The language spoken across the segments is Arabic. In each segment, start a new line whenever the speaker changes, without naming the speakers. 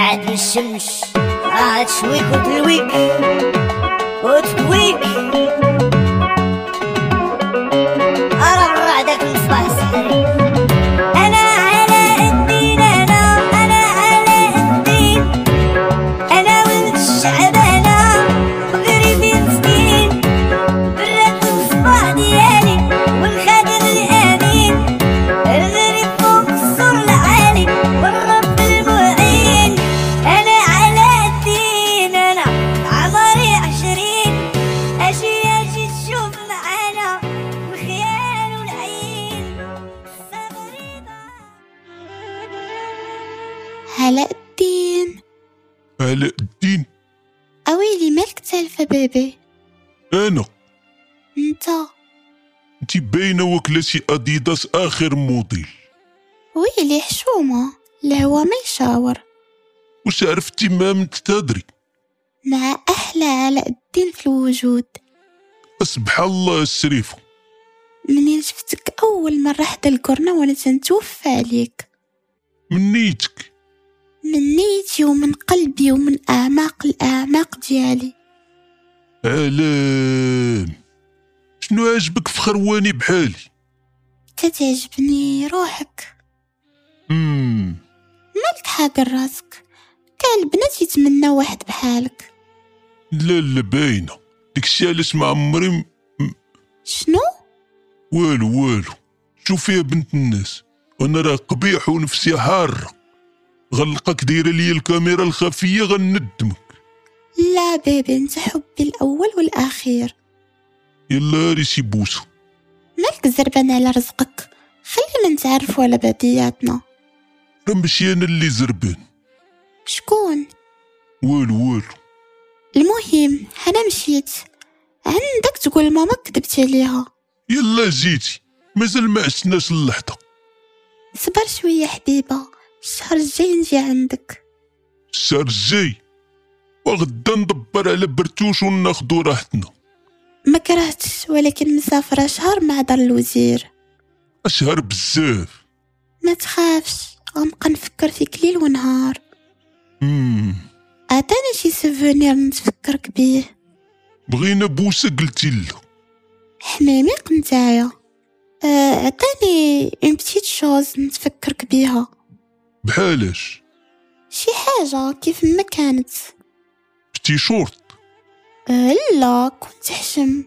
الشمس هتشويك وتلويك وتكويك أرى الرعدك مصباح السحري أنا علاء الدين أنا أنا علاء الدين أنا ولد الشعب أنا مغربي مسكين برات الصباح ديالي والخادم الأمين الغريب فوق السور العالي والرب المعين أنا علاء الدين أنا عمري عشرين أجي أجي تشوف معانا الخيال والعين الصبر يضاع.
هلا الدين
علاء الدين
اويلي مالك تالفة بيبي
انا
انت
انت باينه واكله شي اديداس اخر موديل
ويلي حشومة الهوا ما يشاور
واش عرفتي ما متتدري
مع احلى علاء الدين في الوجود
سبحان الله الشريف
منين شفتك اول مرة حدا الكورنة وانا تنتوفى عليك
من نيتك
من نيتي ومن قلبي ومن اعماق الاعماق ديالي
علام شنو عاجبك في خرواني بحالي
تتعجبني روحك
امم
مالك حاقر راسك كاع البنات يتمناو واحد بحالك
لا لا باينه داكشي علاش ما عمري م-
شنو
والو والو شوفي يا بنت الناس انا راه قبيح ونفسي حاره غلقك دايره ليا الكاميرا الخفيه غندمك
لا بيبي انت حبي الاول والاخير
يلا هاري شي بوسه
مالك زربان على رزقك خلينا نتعرفوا على بعضياتنا
راه ماشي انا اللي زربان
شكون
والو والو
المهم انا مشيت عندك تقول ماما كذبت عليها
يلا جيتي مازال ما عشناش اللحظه
صبر شويه حبيبه الشهر الجاي نجي عندك
الشهر الجاي وغدا ندبر على برتوش وناخدو راحتنا
ما كرهتش ولكن مسافره شهر مع دار الوزير
اشهر بزاف
ما تخافش غنبقى نفكر فيك ليل ونهار
مم.
عطاني شي سوفونير نتفكرك بيه
بغينا بوسه قلتي لا
حميمي قنتايا آه، عطاني اون بتيت شوز نتفكرك بيها
بحالاش
شي حاجة كيف ما كانت
بتي شورت
أه لا كنت حشم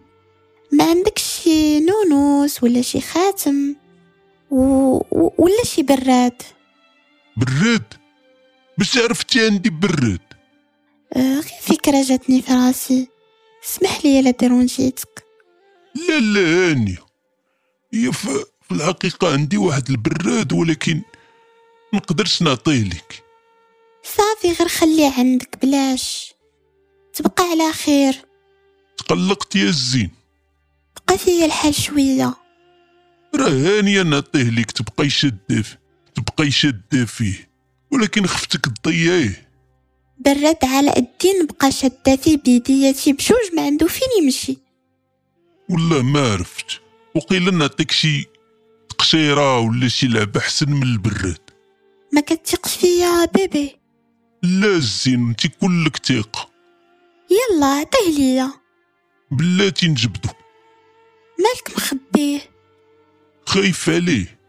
ما عندك شي نونوس ولا شي خاتم و... و- ولا شي براد
براد باش عرفتي عندي براد
أه غير فكرة جاتني في راسي اسمح لي لا ديرونجيتك
لا لا هانية هي ف- في الحقيقة عندي واحد البراد ولكن مقدرش نعطيه لك
صافي غير خليه عندك بلاش تبقى على خير
تقلقت يا الزين
بقى فيا الحال شوية
راه هانية نعطيه ليك تبقى شادة ف- تبقى شادة فيه ولكن خفتك تضيعيه
براد علاء الدين بقى شادة في بيديتي بجوج ما عنده فين يمشي
والله ما عرفت وقيلا نعطيك شي تقشيرة ولا شي لعبة حسن من البراد
ما كتثقش فيا بيبي
لا الزين انت كلك ثقة
يلا عطيه ليا
بلاتي نجبدو
مالك مخبيه
خايف عليه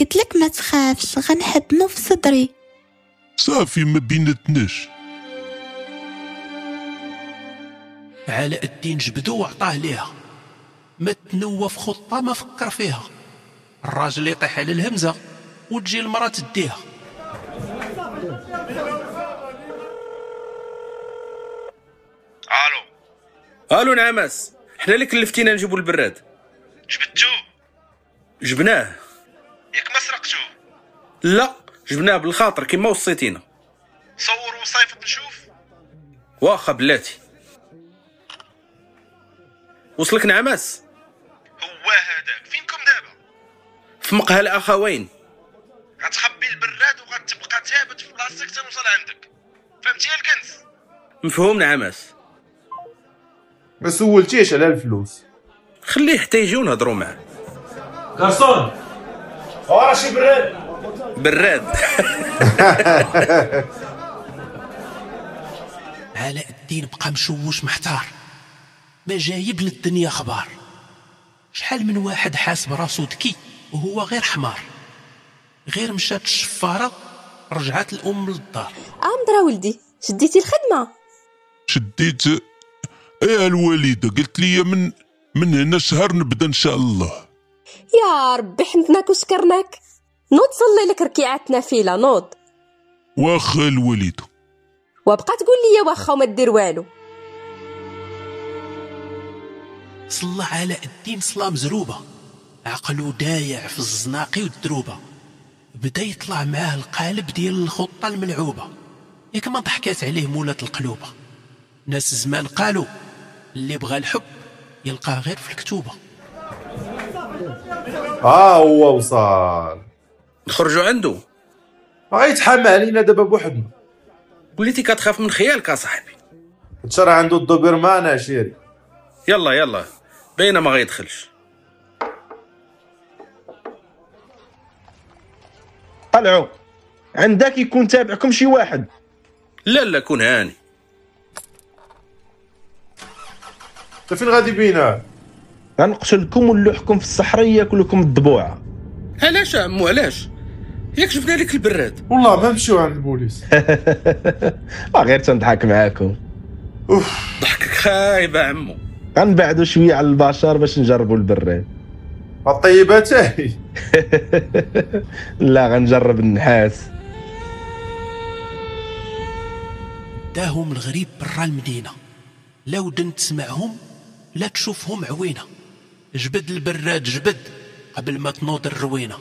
قلت لك ما تخافش غنحضنو في صدري
صافي ما بيناتناش
علاء الدين جبدو وعطاه ليها ما تنوى في خطة ما فكر فيها الراجل يطيح على الهمزة وتجي المرأة تديها
الو
الو نعماس حنا اللي كلفتينا نجيبو البراد
جبدتو
جبناه
ياك ما سرقتو
لا جبناه بالخاطر كما وصيتينا
صور وصيفط نشوف
واخا بلاتي وصلك نعماس
هو هذاك فينكم دابا
في مقهى الاخوين
غتخبي البراد وغتبقى ثابت في بلاصتك تنوصل عندك فهمتي يا الكنز
مفهوم نعماس
ما سولتيش على الفلوس
خليه حتى يجي ونهضروا معاه
غرسون ورا شي براد
براد
علاء الدين بقى مشوش محتار ما جايب للدنيا خبار شحال من واحد حاسب راسو ذكي وهو غير حمار غير مشات الشفارة رجعت الأم للدار
امدرا ولدي شديتي الخدمه
شديت ايه الوالده قلت لي من من هنا شهر نبدا ان شاء الله
يا ربي حمدناك وشكرناك نوض صلي لك ركيعات نافله نوض
واخا الوالده
وبقى تقول لي واخا وما دير والو
صلى علاء الدين صلاة مزروبة عقله دايع في الزناقي والدروبة بدا يطلع معاه القالب ديال الخطة الملعوبة ياك ما ضحكات عليه مولات القلوبة ناس زمان قالوا اللي بغى الحب يلقاه غير في الكتوبة
ها آه، هو وصل
نخرجوا عنده
غيتحامى علينا دابا بوحدنا
وليتي كتخاف من خيالك اصاحبي
تشرى عنده الدوبرمان اشيري
يلا يلا باينه ما غيدخلش
طلعوا عندك يكون تابعكم شي واحد
لا لا كون هاني
انت فين غادي بينا
غنقتلكم ونلوحكم في الصحراء ياكلكم الضبوعه
علاش يا عمو علاش ياك شفنا لك البراد
والله ما نمشيو عند البوليس
آه، غير تنضحك معاكم
ضحكك خايب يا عمو
غنبعدوا شويه على البشر باش نجربوا البراد
الطيبات هي
لا غنجرب النحاس
داهم الغريب برا المدينة لا ودن تسمعهم لا تشوفهم عوينة جبد البراد جبد قبل ما تنوض الروينة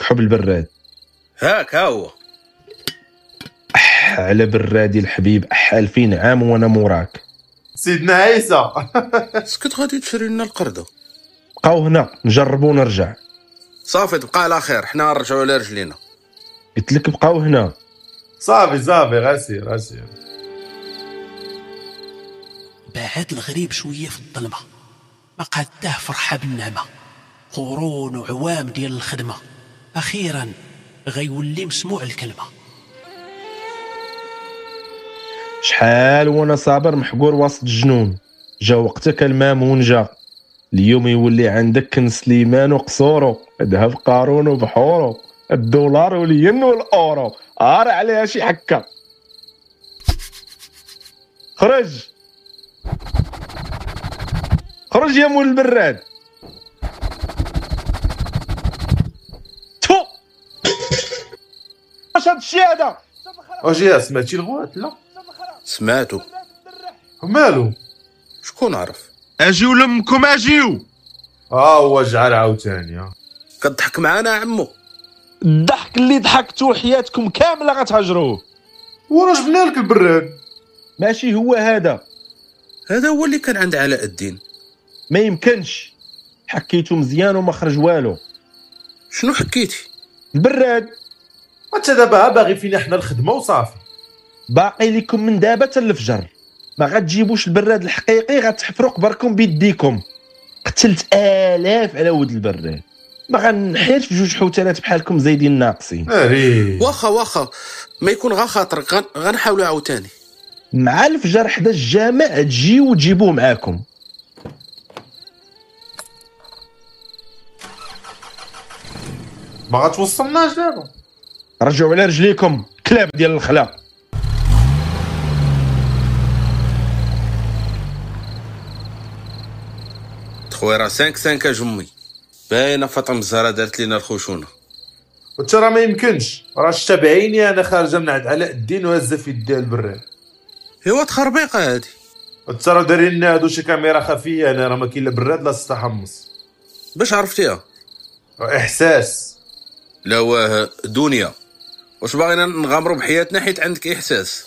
كحب البراد
هاك ها هو
أح على برادي الحبيب أح 2000 عام وانا موراك
سيدنا عيسى
اسكت غادي تشري لنا القرده
بقاو هنا نجربوا ونرجع
صافي تبقى على خير حنا نرجعوا على رجلينا
قلت لك بقاو هنا
صافي صافي غسير غسير
بعد الغريب شوية في الظلمة ما قاداه فرحة بالنعمة قرون وعوام ديال الخدمة أخيرا غيولي مسموع الكلمة
شحال وانا صابر محقور وسط الجنون جا وقتك المامون جا اليوم يولي عندك كن سليمان وقصورو ذهب قارون وبحورو الدولار والين والاورو ار عليها شي حكه خرج خرج يا مول البراد تفو اش هاد الشي هذا
اجي سمعتي الغوات لا
سمعتو
مالو
شكون عرف
اجيو لامكم اجيو
ها آه، هو جعل عاوتاني آه. ها.
كتضحك معانا يا عمو
الضحك اللي ضحكتو حياتكم كامله غتهجروه
ورا جبنا لك البراد
ماشي هو هذا
هذا هو اللي كان عند علاء الدين
ما يمكنش حكيتو مزيان وما خرج والو
شنو حكيتي
البراد
انت دابا باغي فينا حنا الخدمه وصافي
باقي لكم من دابا تا الفجر ما غتجيبوش البراد الحقيقي غتحفروا قبركم بيديكم قتلت الاف على ود البراد ما غنحيرش في جوج حوتانات بحالكم زايدين ناقصين
ناري
واخا واخا ما يكون غا خاطر غن- غنحاولوا عاوتاني
مع الفجر حدا الجامع تجيو وتجيبوه معاكم
ما غتوصلناش دابا
رجعوا على رجليكم كلاب ديال الخلا
تخويره 5 5 جمي باينه فاطمه الزهراء دارت لنا الخشونه
وانت راه ما يمكنش راه شتابعيني انا خارجه من عند علاء الدين وهزه في يديها البراد
ايوا تخربيقه هادي
انت راه دايرين لنا هادو شي كاميرا خفيه انا راه ما كاين لا براد لا تحمص
باش عرفتيها
احساس
لا واه دنيا واش باغينا نغامروا بحياتنا حيت عندك احساس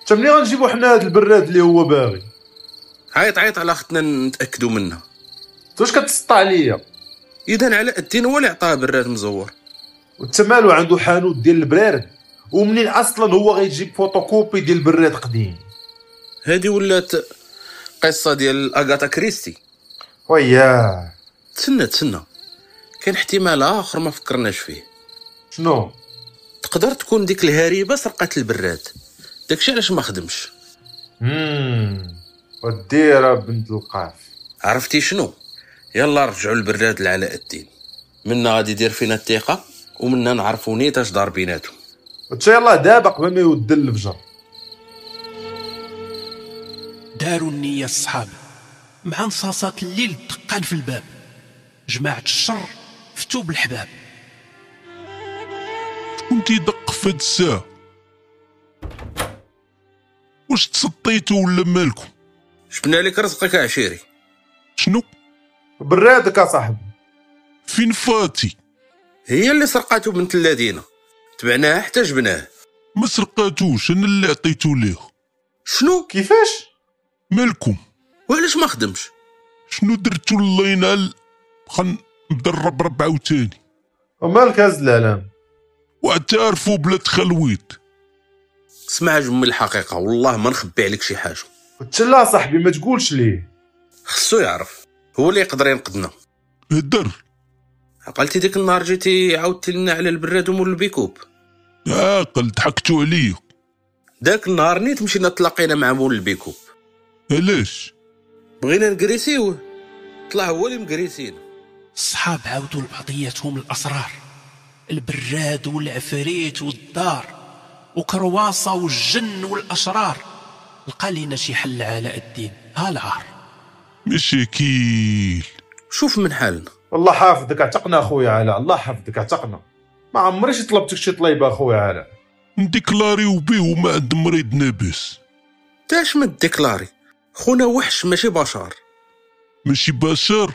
انت منين غنجيبو حنا هاد البراد اللي هو باغي
عيط عيط على اختنا نتاكدوا منها
انت واش كتسطى عليا
اذا علاء الدين هو اللي عطاه براد مزور
وانت مالو عنده حانوت ديال البراد ومنين اصلا هو غيجيب فوتوكوبي ديال البراد قديم
هادي ولات قصه ديال اغاتا كريستي
وياه
تسنى تسنى كان احتمال اخر ما فكرناش فيه
شنو
تقدر تكون ديك الهريبه سرقت البراد داكشي علاش ما خدمش
مم. والديره بنت القاف
عرفتي شنو يلا رجعوا البراد لعلاء الدين منا غادي يدير فينا الثقه ومنا نعرفوا نيت اش دار بيناتهم
وتشا يلاه دابا قبل ما يود الفجر
داروا النية الصحاب مع نصاصات الليل دقان في الباب جماعة الشر فتوا بالحباب
كنت يدق في هاد الساعة واش تسطيتو ولا مالكم
شفنا لك رزقك عشيري
شنو
برادك اصاحبي
فين فاتي
هي اللي سرقاتو بنت الذين تبعناها حتى جبناه
ما سرقاتوش انا اللي عطيتو ليه
شنو
كيفاش
مالكم
وعلاش ما خدمش
شنو درتو الله ينال خن نبدا نربرب عاوتاني
ومالك هز العلام
واعترفوا بلا تخلويط
اسمع جم الحقيقه والله ما نخبي عليك شي حاجه
قلت لا صاحبي ما تقولش ليه
خصو يعرف هو اللي يقدر ينقذنا
هدر
عقلتي ديك النهار جيتي عاودتي لنا على البراد ومول البيكوب
عاقل ضحكتو عليا
داك النهار نيت مشينا تلاقينا مع مول البيكوب
علاش
بغينا نكريسيوه طلع هو اللي مكريسينا
الصحاب عاودوا لبعضياتهم الأسرار البراد والعفريت والدار وكرواسة والجن والأشرار لقى لينا شي حل علاء الدين ها العار
مشاكيل
شوف من حالنا
الله حافظك اعتقنا اخويا علاء الله حافظك اعتقنا ما عمريش طلبتك شي طليبه اخويا علاء
نديكلاريو بيه وما عند مريض نابس
تاش ما ديكلاري خونا وحش ماشي بشر
ماشي بشر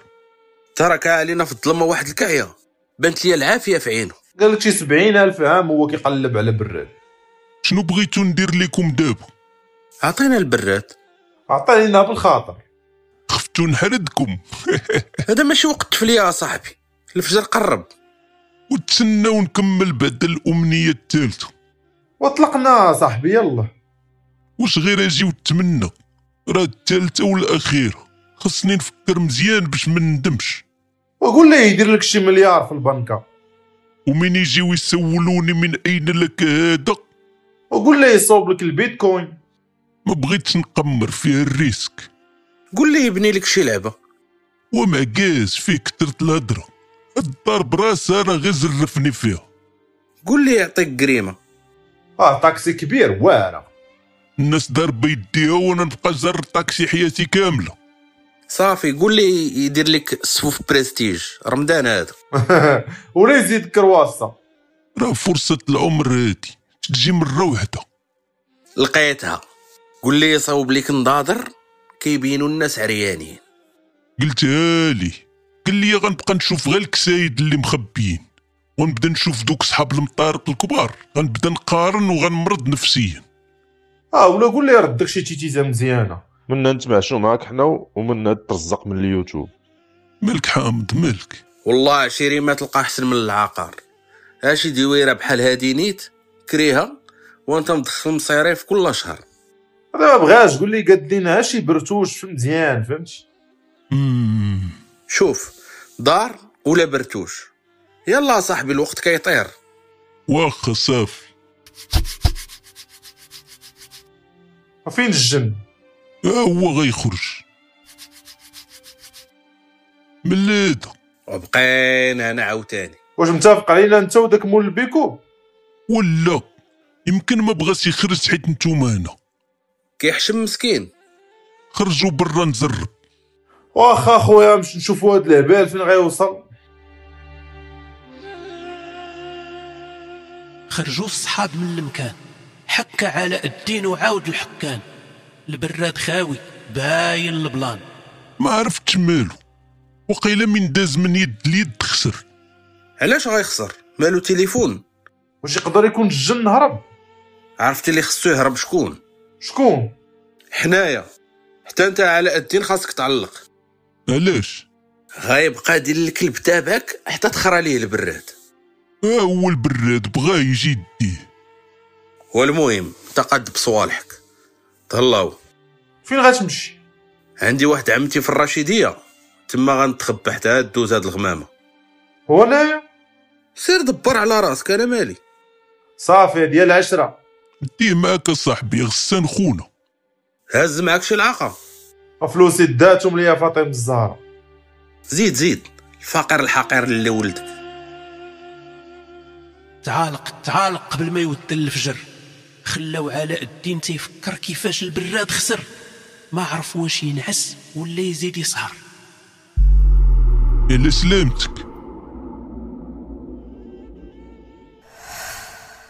ترك علينا في الظلمه واحد الكعيه بانت لي العافيه في عينه
قال لك شي 70000 عام هو كيقلب على براد
شنو بغيتو ندير ليكم دابا
عطينا البراد
عطينا بالخاطر
خفتو نحردكم
هذا ماشي وقت تفليه يا صاحبي الفجر قرب
وتسناو نكمل بعد الامنيه الثالثه
وطلقنا صاحبي يلا
واش غير اجي وتمنى راه الثالثه والاخيره خصني نفكر مزيان باش ما ندمش
وقول ليه يدير لك شي مليار في البنكه
ومين يجيو يسولوني من اين لك هذا
وقول ليه يصوب لك البيتكوين
ما بغيتش نقمر فيه الريسك
قول لي يبني لك شي لعبه
وما كاز فيه كثرة الهضره الدار براسها راه غير زرفني فيها
قول لي يعطيك قريمه
اه طاكسي كبير واعره
الناس دار بيديها وانا نبقى زر طاكسي حياتي كامله
صافي قول لي يدير لك صفوف برستيج رمضان هذا
ولا يزيد كرواسه
راه فرصه العمر هادي تجي مره وحده
لقيتها قول لي يصاوب لك نضاضر كيبينوا الناس عريانين
قلتها لي قال لي غنبقى نشوف غير الكسايد اللي مخبيين ونبدا نشوف دوك صحاب المطارق الكبار غنبدا نقارن وغنمرض نفسيا
اه ولا قول ليه ردك شي تيتيزه مزيانه
منا نتمعشو معاك حنا ومنا ترزق من اليوتيوب
مالك حامد مالك
والله عشيري ما تلقى احسن من العقار هاشي دويره بحال هادي نيت كريها وانت مدخل مصيري في كل شهر
هذا ما بغاش قول لي قاد لينا شي برتوش مزيان فهمتي
مم.
شوف دار ولا برتوش يلا صاحبي الوقت كيطير
واخا صافي
فين الجن
ها هو غيخرج من هذا
وبقينا انا عاوتاني
واش متفق علينا انت وداك مول البيكو
ولا يمكن ما بغاش يخرج حيت نتوما هنا
كيحشم مسكين
خرجوا برا نزرب
واخا خويا باش نشوفوا هاد الهبال فين غيوصل
خرجوا الصحاب من المكان حك علاء الدين وعاود الحكان البراد خاوي باين البلان
ما عرفتش مالو وقيلا من داز من يد ليد خسر
علاش غيخسر مالو تليفون
واش يقدر يكون الجن هرب
عرفتي اللي خصو يهرب شكون
شكون
حنايا حتى انت علاء الدين خاصك تعلق
علاش
غيبقى ديال الكلب تابعك حتى تخرى ليه البراد
ها هو البراد بغا يجي يديه
والمهم تقد بصوالحك تهلاو
فين غتمشي
عندي واحد عمتي في الرشيديه تما غنتخبى حتى عاد دوز هاد الغمامه
هو انايا
سير دبر على راسك انا مالي
صافي ديال عشرة
ديه معاك صاحبي غسان خونا
هز معاك شي العاقه
فلوسي داتهم ليا فاطمه الزهراء
زيد زيد الفقير الحقير اللي ولدك
تعالق تعالق قبل ما يود الفجر خلاو علاء الدين تيفكر كيفاش البراد خسر ما عرف واش ينعس ولا يزيد يسهر
إلا سلامتك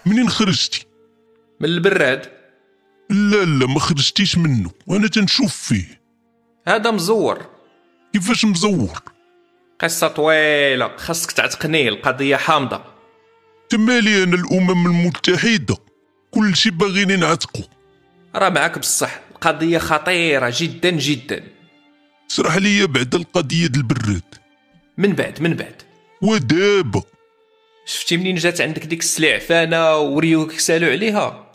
منين خرجتي
من البراد
لا لا ما خرجتيش منه وانا تنشوف فيه
هذا مزور
كيفاش مزور
قصه طويله خاصك تعتقنيه القضيه حامضه
تمالي انا الامم المتحده كل شي باغيين ينعتقوا
راه معاك بصح القضيه خطيره جدا جدا
سرح لي بعد القضيه د البراد
من بعد من بعد
ودابا
شفتي منين جات عندك ديك السلعفانه وريوك سالو عليها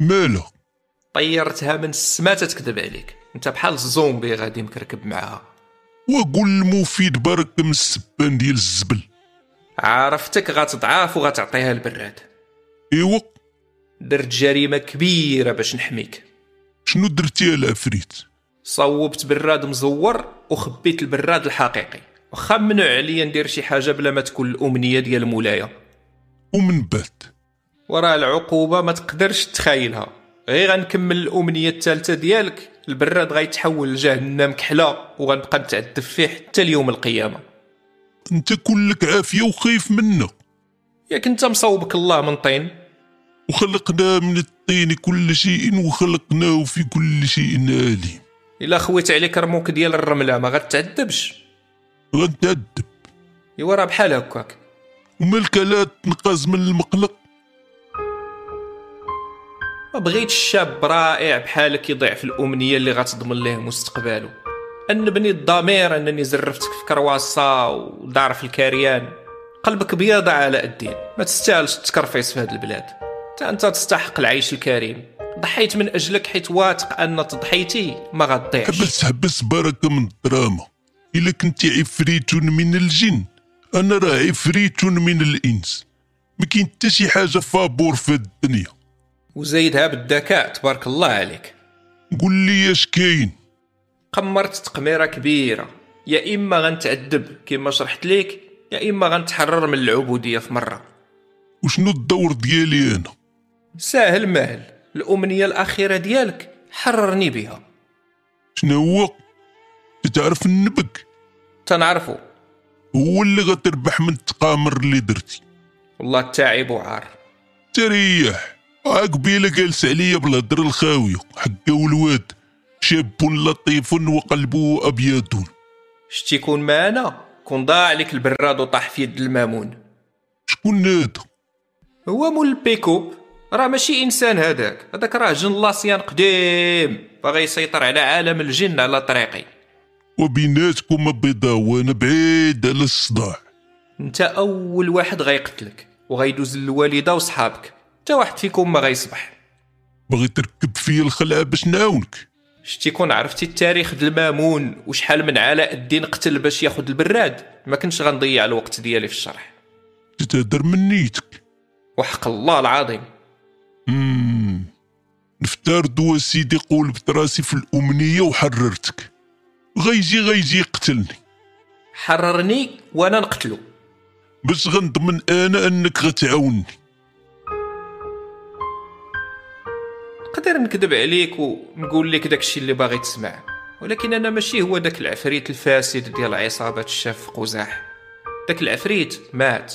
مالها
طيرتها من السما تتكذب عليك انت بحال الزومبي غادي مكركب معاها
وقول المفيد بارك من السبان ديال الزبل
عرفتك غتضعاف وغتعطيها البراد
ايوا
درت جريمه كبيره باش نحميك
شنو درتي العفريت
صوبت براد مزور وخبيت البراد الحقيقي واخا ممنوع عليا ندير شي حاجه بلا ما تكون الامنيه ديال مولايا
ومن بعد
وراه العقوبه ما تقدرش تتخيلها غير غنكمل الامنيه الثالثه ديالك البراد غيتحول لجهنم كحله وغنبقى نتعذب فيه حتى اليوم القيامه
انت كلك عافيه وخايف منا
ياك انت مصوبك الله من طين
وخلقنا من الطين كل شيء وخلقناه في كل شيء آلي
الا خويت عليك رموك ديال الرمله ما غتعذبش
غنتعذب
ايوا راه بحال هكاك
ومالك لا تنقاز من المقلق
ما بغيتش شاب رائع بحالك يضيع في الامنيه اللي غتضمن ليه مستقبله انبني الضمير انني زرفتك في كرواسه ودار في الكريان قلبك بيض على الدين ما تستاهلش تكرفيس في هاد البلاد حتى انت تستحق العيش الكريم ضحيت من اجلك حيت واثق ان تضحيتي ما غتضيعش
حبس حبس بركه من الدراما الا كنتي عفريت من الجن انا راه عفريت من الانس ما كاين حتى شي حاجه فابور في الدنيا
وزايدها بالذكاء تبارك الله عليك
قول لي اش كاين
قمرت تقميره كبيره يا اما غنتعذب كما شرحت ليك يا اما غنتحرر من العبوديه في مره
وشنو الدور ديالي انا
ساهل ماهل الامنيه الاخيره ديالك حررني بها
شنو هو تعرف النبك
تنعرفو
هو اللي غتربح من التقامر اللي درتي
والله التعب وعار
تريح عقبيله جالس عليا بالهضر الخاويه حقه الواد شاب لطيف وقلبه ابيض
شتي كون معانا كون ضاع عليك البراد وطاح في يد المامون
شكون هذا
هو مول البيكوب راه ماشي انسان هذاك هذاك راه جن لاصيان قديم باغي يسيطر على عالم الجن على طريقي
وبيناتكم بيضاء وانا بعيد على الصداع
انت اول واحد غيقتلك وغيدوز للوالده وصحابك حتى واحد فيكم ما غيصبح
باغي تركب فيا الخلعه باش نعاونك
شتي كون عرفتي التاريخ د المامون وشحال من علاء الدين قتل باش ياخد البراد ما كنتش غنضيع الوقت ديالي في الشرح
تتهدر من نيتك
وحق الله العظيم
امم نفترض سيدي قول براسي في الامنيه وحررتك غيجي غيجي يقتلني
حررني وانا نقتلو
باش غنضمن انا انك غتعاوني
نقدر نكذب عليك ونقول لك داكشي اللي باغي تسمع ولكن انا ماشي هو داك العفريت الفاسد ديال عصابات الشاف في قزاح داك العفريت مات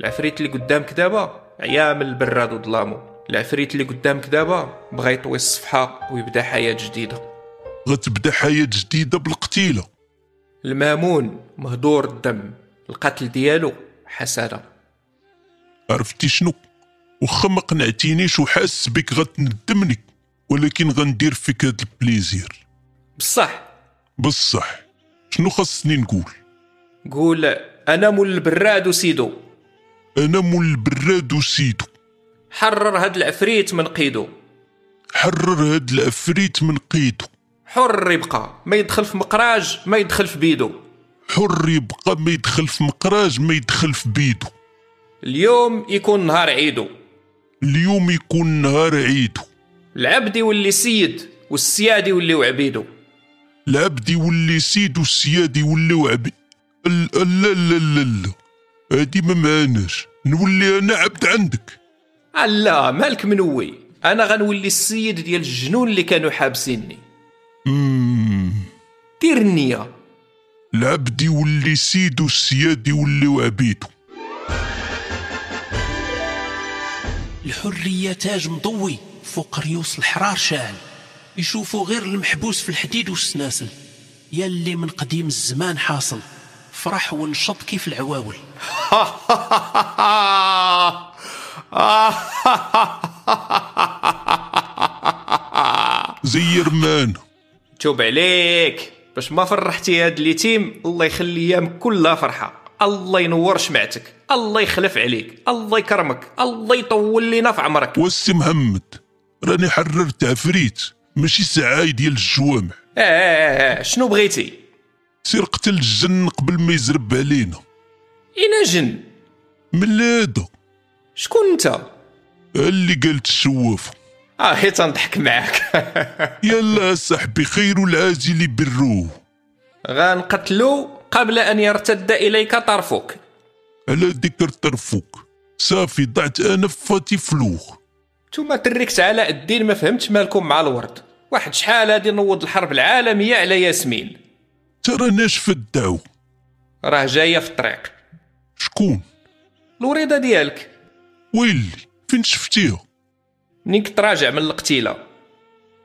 العفريت اللي قدامك دابا عيا من البراد وظلامو العفريت اللي قدامك دابا بغا يطوي الصفحه ويبدا حياه جديده
غتبدا حياة جديدة بالقتيلة
المامون مهدور الدم القتل ديالو حسنة
عرفتي شنو واخا ما قنعتينيش وحاس بك غتندمني ولكن غندير فيك هاد البليزير
بصح
بصح شنو خاصني نقول
قول انا مول البراد وسيدو
انا مول البراد وسيدو
حرر هاد العفريت من قيدو
حرر هاد العفريت من قيدو
حر يبقى ما يدخل في مقراج ما يدخل في بيدو
حر يبقى ما يدخل في مقراج ما يدخل في بيدو
اليوم يكون نهار عيدو
اليوم يكون نهار عيد
العبد يولي سيد والسياد يوليو عبيدو
العبد يولي سيد والسياد يوليو عبيد ال- ال- لا لا لا لا هادي ما معناش نولي انا عبد عندك
آه لا مالك منوي انا غنولي السيد ديال الجنون اللي كانوا حابسيني
مم.
دير النية
العبد يولي سيد والسياد يوليو عبيدو
الحرية تاج مضوي فوق ريوس الحرار شاعل يشوفوا غير المحبوس في الحديد والسناسل يا اللي من قديم الزمان حاصل فرح ونشط كيف العواول
زير مان
توب عليك باش ما فرحتي هاد اليتيم الله يخلي ايامك كلها فرحه الله ينور شمعتك الله يخلف عليك الله يكرمك الله يطول لينا في عمرك
وسي محمد راني حررت عفريت ماشي سعاي ديال الجوامع
آه، آه، آه، شنو بغيتي
سير قتل الجن قبل ما يزرب علينا
اين جن
من هذا
شكون آه، انت
اللي قالت الشوافه
اه حيت نضحك معاك
يلا صاحبي خير العاجل بروه
غنقتلو قبل ان يرتد اليك طرفك
على ذكر طرفك صافي ضعت انا في فاتي فلوخ
نتوما تركت علاء الدين ما فهمتش مالكم مع الورد واحد شحال هادي نوض الحرب العالميه على ياسمين
ترى ناشف الدعو
راه جايه في الطريق
شكون
الوريضه ديالك
ويلي فين شفتيها
منين كنت راجع من القتيله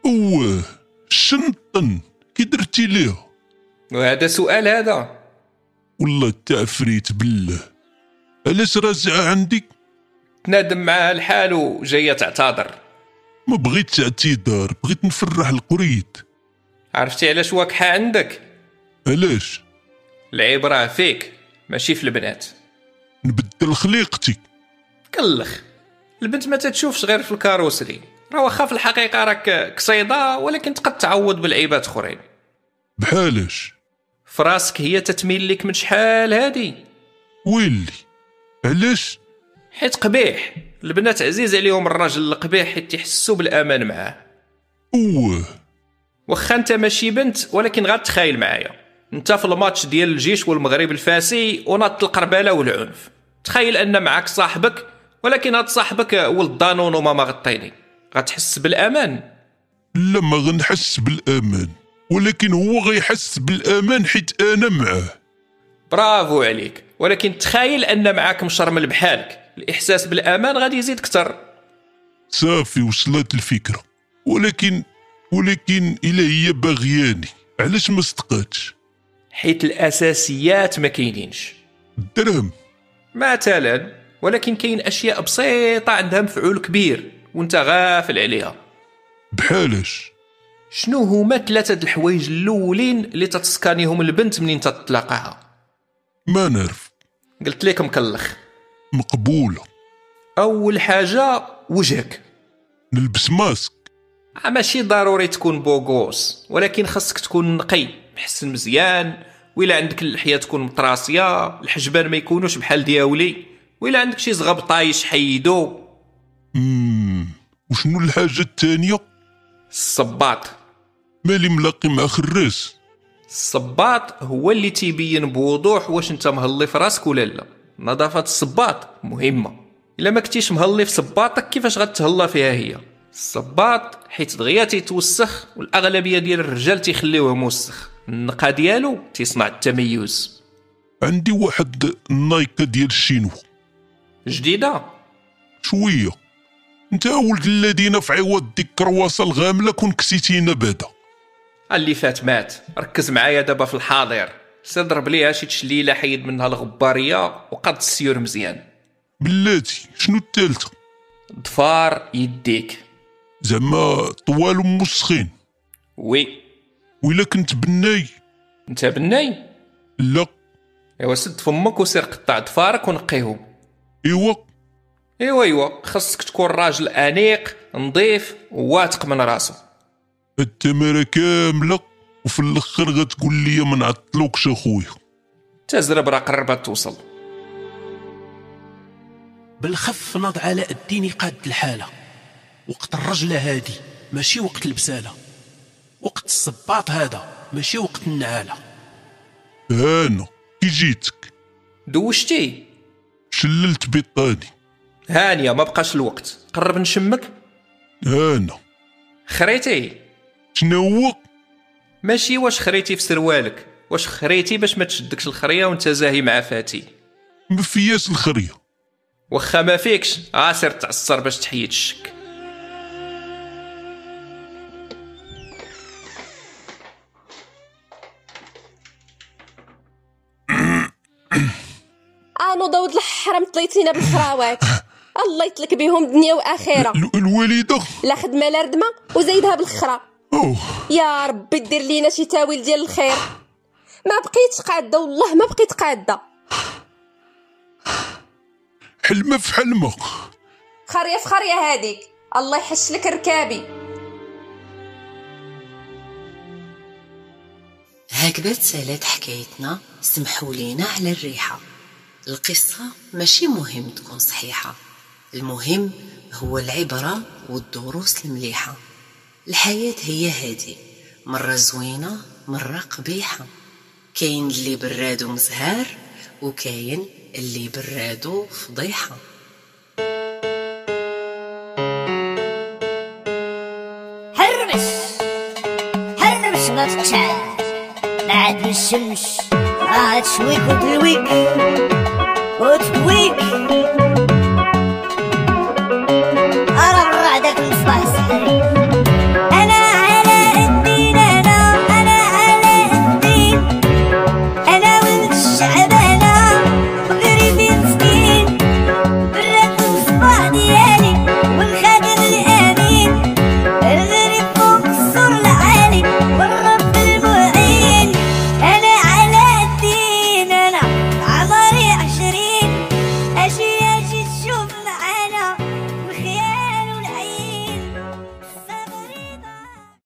اوه شنطن كي درتي ليها
وهذا سؤال هذا
والله تعفريت بالله علاش رازعه عندي
تنادم معاها الحال وجايه تعتذر
ما بغيتش اعتذار بغيت نفرح القريد
عرفتي علاش واقحه عندك
علاش
العبره فيك ماشي في البنات
نبدل خليقتي
كلخ البنت ما تتشوفش غير في الكاروسري راه واخا في الحقيقه راك قصيده ولكن تقد تعوض بالعيبات اخرين
بحالاش
فراسك هي تتميل لك من شحال هادي
ويلي علاش
حيت قبيح البنات عزيز عليهم الراجل القبيح حيت يحسوا بالامان معاه
اوه
واخا انت ماشي بنت ولكن غتخايل معايا انت في الماتش ديال الجيش والمغرب الفاسي ونط القربله والعنف تخيل ان معك صاحبك ولكن هاد صاحبك ولد دانون وماما غطيني غتحس بالامان
لا ما غنحس بالامان ولكن هو غيحس بالامان حيت انا معاه
برافو عليك ولكن تخيل ان معاك مشرمل بحالك الاحساس بالامان غادي يزيد كتر
صافي وصلت الفكره ولكن ولكن الا هي باغياني علاش ما صدقاتش
حيت الاساسيات ما كاينينش
الدرهم
مثلا ولكن كاين اشياء بسيطه عندها مفعول كبير وانت غافل عليها
بحالاش
شنو هما ثلاثه د الحوايج الاولين اللي تتسكانيهم البنت منين تتلاقاها
ما نعرف
قلت لك مكلخ
مقبوله
اول حاجه وجهك
نلبس ماسك
آه، ماشي ضروري تكون بوغوس ولكن خاصك تكون نقي محسن مزيان ولا عندك اللحيه تكون مطراسيه الحجبان ما يكونوش بحال دياولي ولا عندك شي زغب طايش حيدو
امم وشنو الحاجه الثانيه
الصباط
مالي ملاقي مع خراس
الصباط هو اللي تيبين بوضوح واش انت مهلي في راسك ولا لا نظافه الصباط مهمه الا ما كنتيش مهلي في صباطك كيفاش غتهلا فيها هي الصباط حيت دغيا تيتوسخ والاغلبيه ديال الرجال تيخليوه موسخ النقا ديالو تيصنع التميز
عندي واحد النايكه ديال الشينو
جديده
شويه انت يا ولد الذين في عوض ديك الكرواسه الغامله كون كسيتينا بعدا
اللي فات مات ركز معايا دابا في الحاضر سضرب ليها شي تشليله حيد منها الغباريه وقد السيور مزيان
بلاتي شنو الثالثه
ضفار يديك
زعما طوال ومسخين
وي
وإلا كنت بناي
انت بناي
لا
ايوا سد فمك وسير قطع ضفارك ونقيهم
ايوا
ايوا ايوا خاصك تكون راجل انيق نظيف وواثق من راسو
التماره كامله وفي الاخر غتقول لي ما نعطلوكش اخويا
تزرب راه قربت توصل
بالخف نض علاء الدين يقاد الحالة وقت الرجلة هادي ماشي وقت البسالة وقت الصباط هذا ماشي وقت النعالة
هانا كي جيتك
دوشتي
شللت بيطاني
هانية ما بقاش الوقت قرب نشمك
هانا
خريتي
شنو
ماشي واش خريتي في سروالك واش خريتي باش ما تشدكش الخريه وانت زاهي مع فاتي
ما فياش الخريه
واخا ما فيكش عاسر تعصر باش تحيد الشك
انو ضوض الحرام طليتينا بالخراوات الله يطلق بهم دنيا واخره
الوالده
لا خدمه لا ردمه وزايدها بالخرا
أوه.
يا ربي دير لينا شي تاويل ديال الخير ما بقيتش قاده والله ما بقيت قاده
حلمه في حلمه
خريه في خريه هذيك الله يحش لك ركابي
هكذا تسالت حكايتنا سمحوا لينا على الريحة القصة ماشي مهم تكون صحيحة المهم هو العبرة والدروس المليحة الحياة هي هادي مرة زوينة مرة قبيحة كاين اللي برادو مزهار وكاين اللي برادو فضيحة
هربش هربش ما تقشعر بعد الشمس راه تشويك وتلويك وتكويك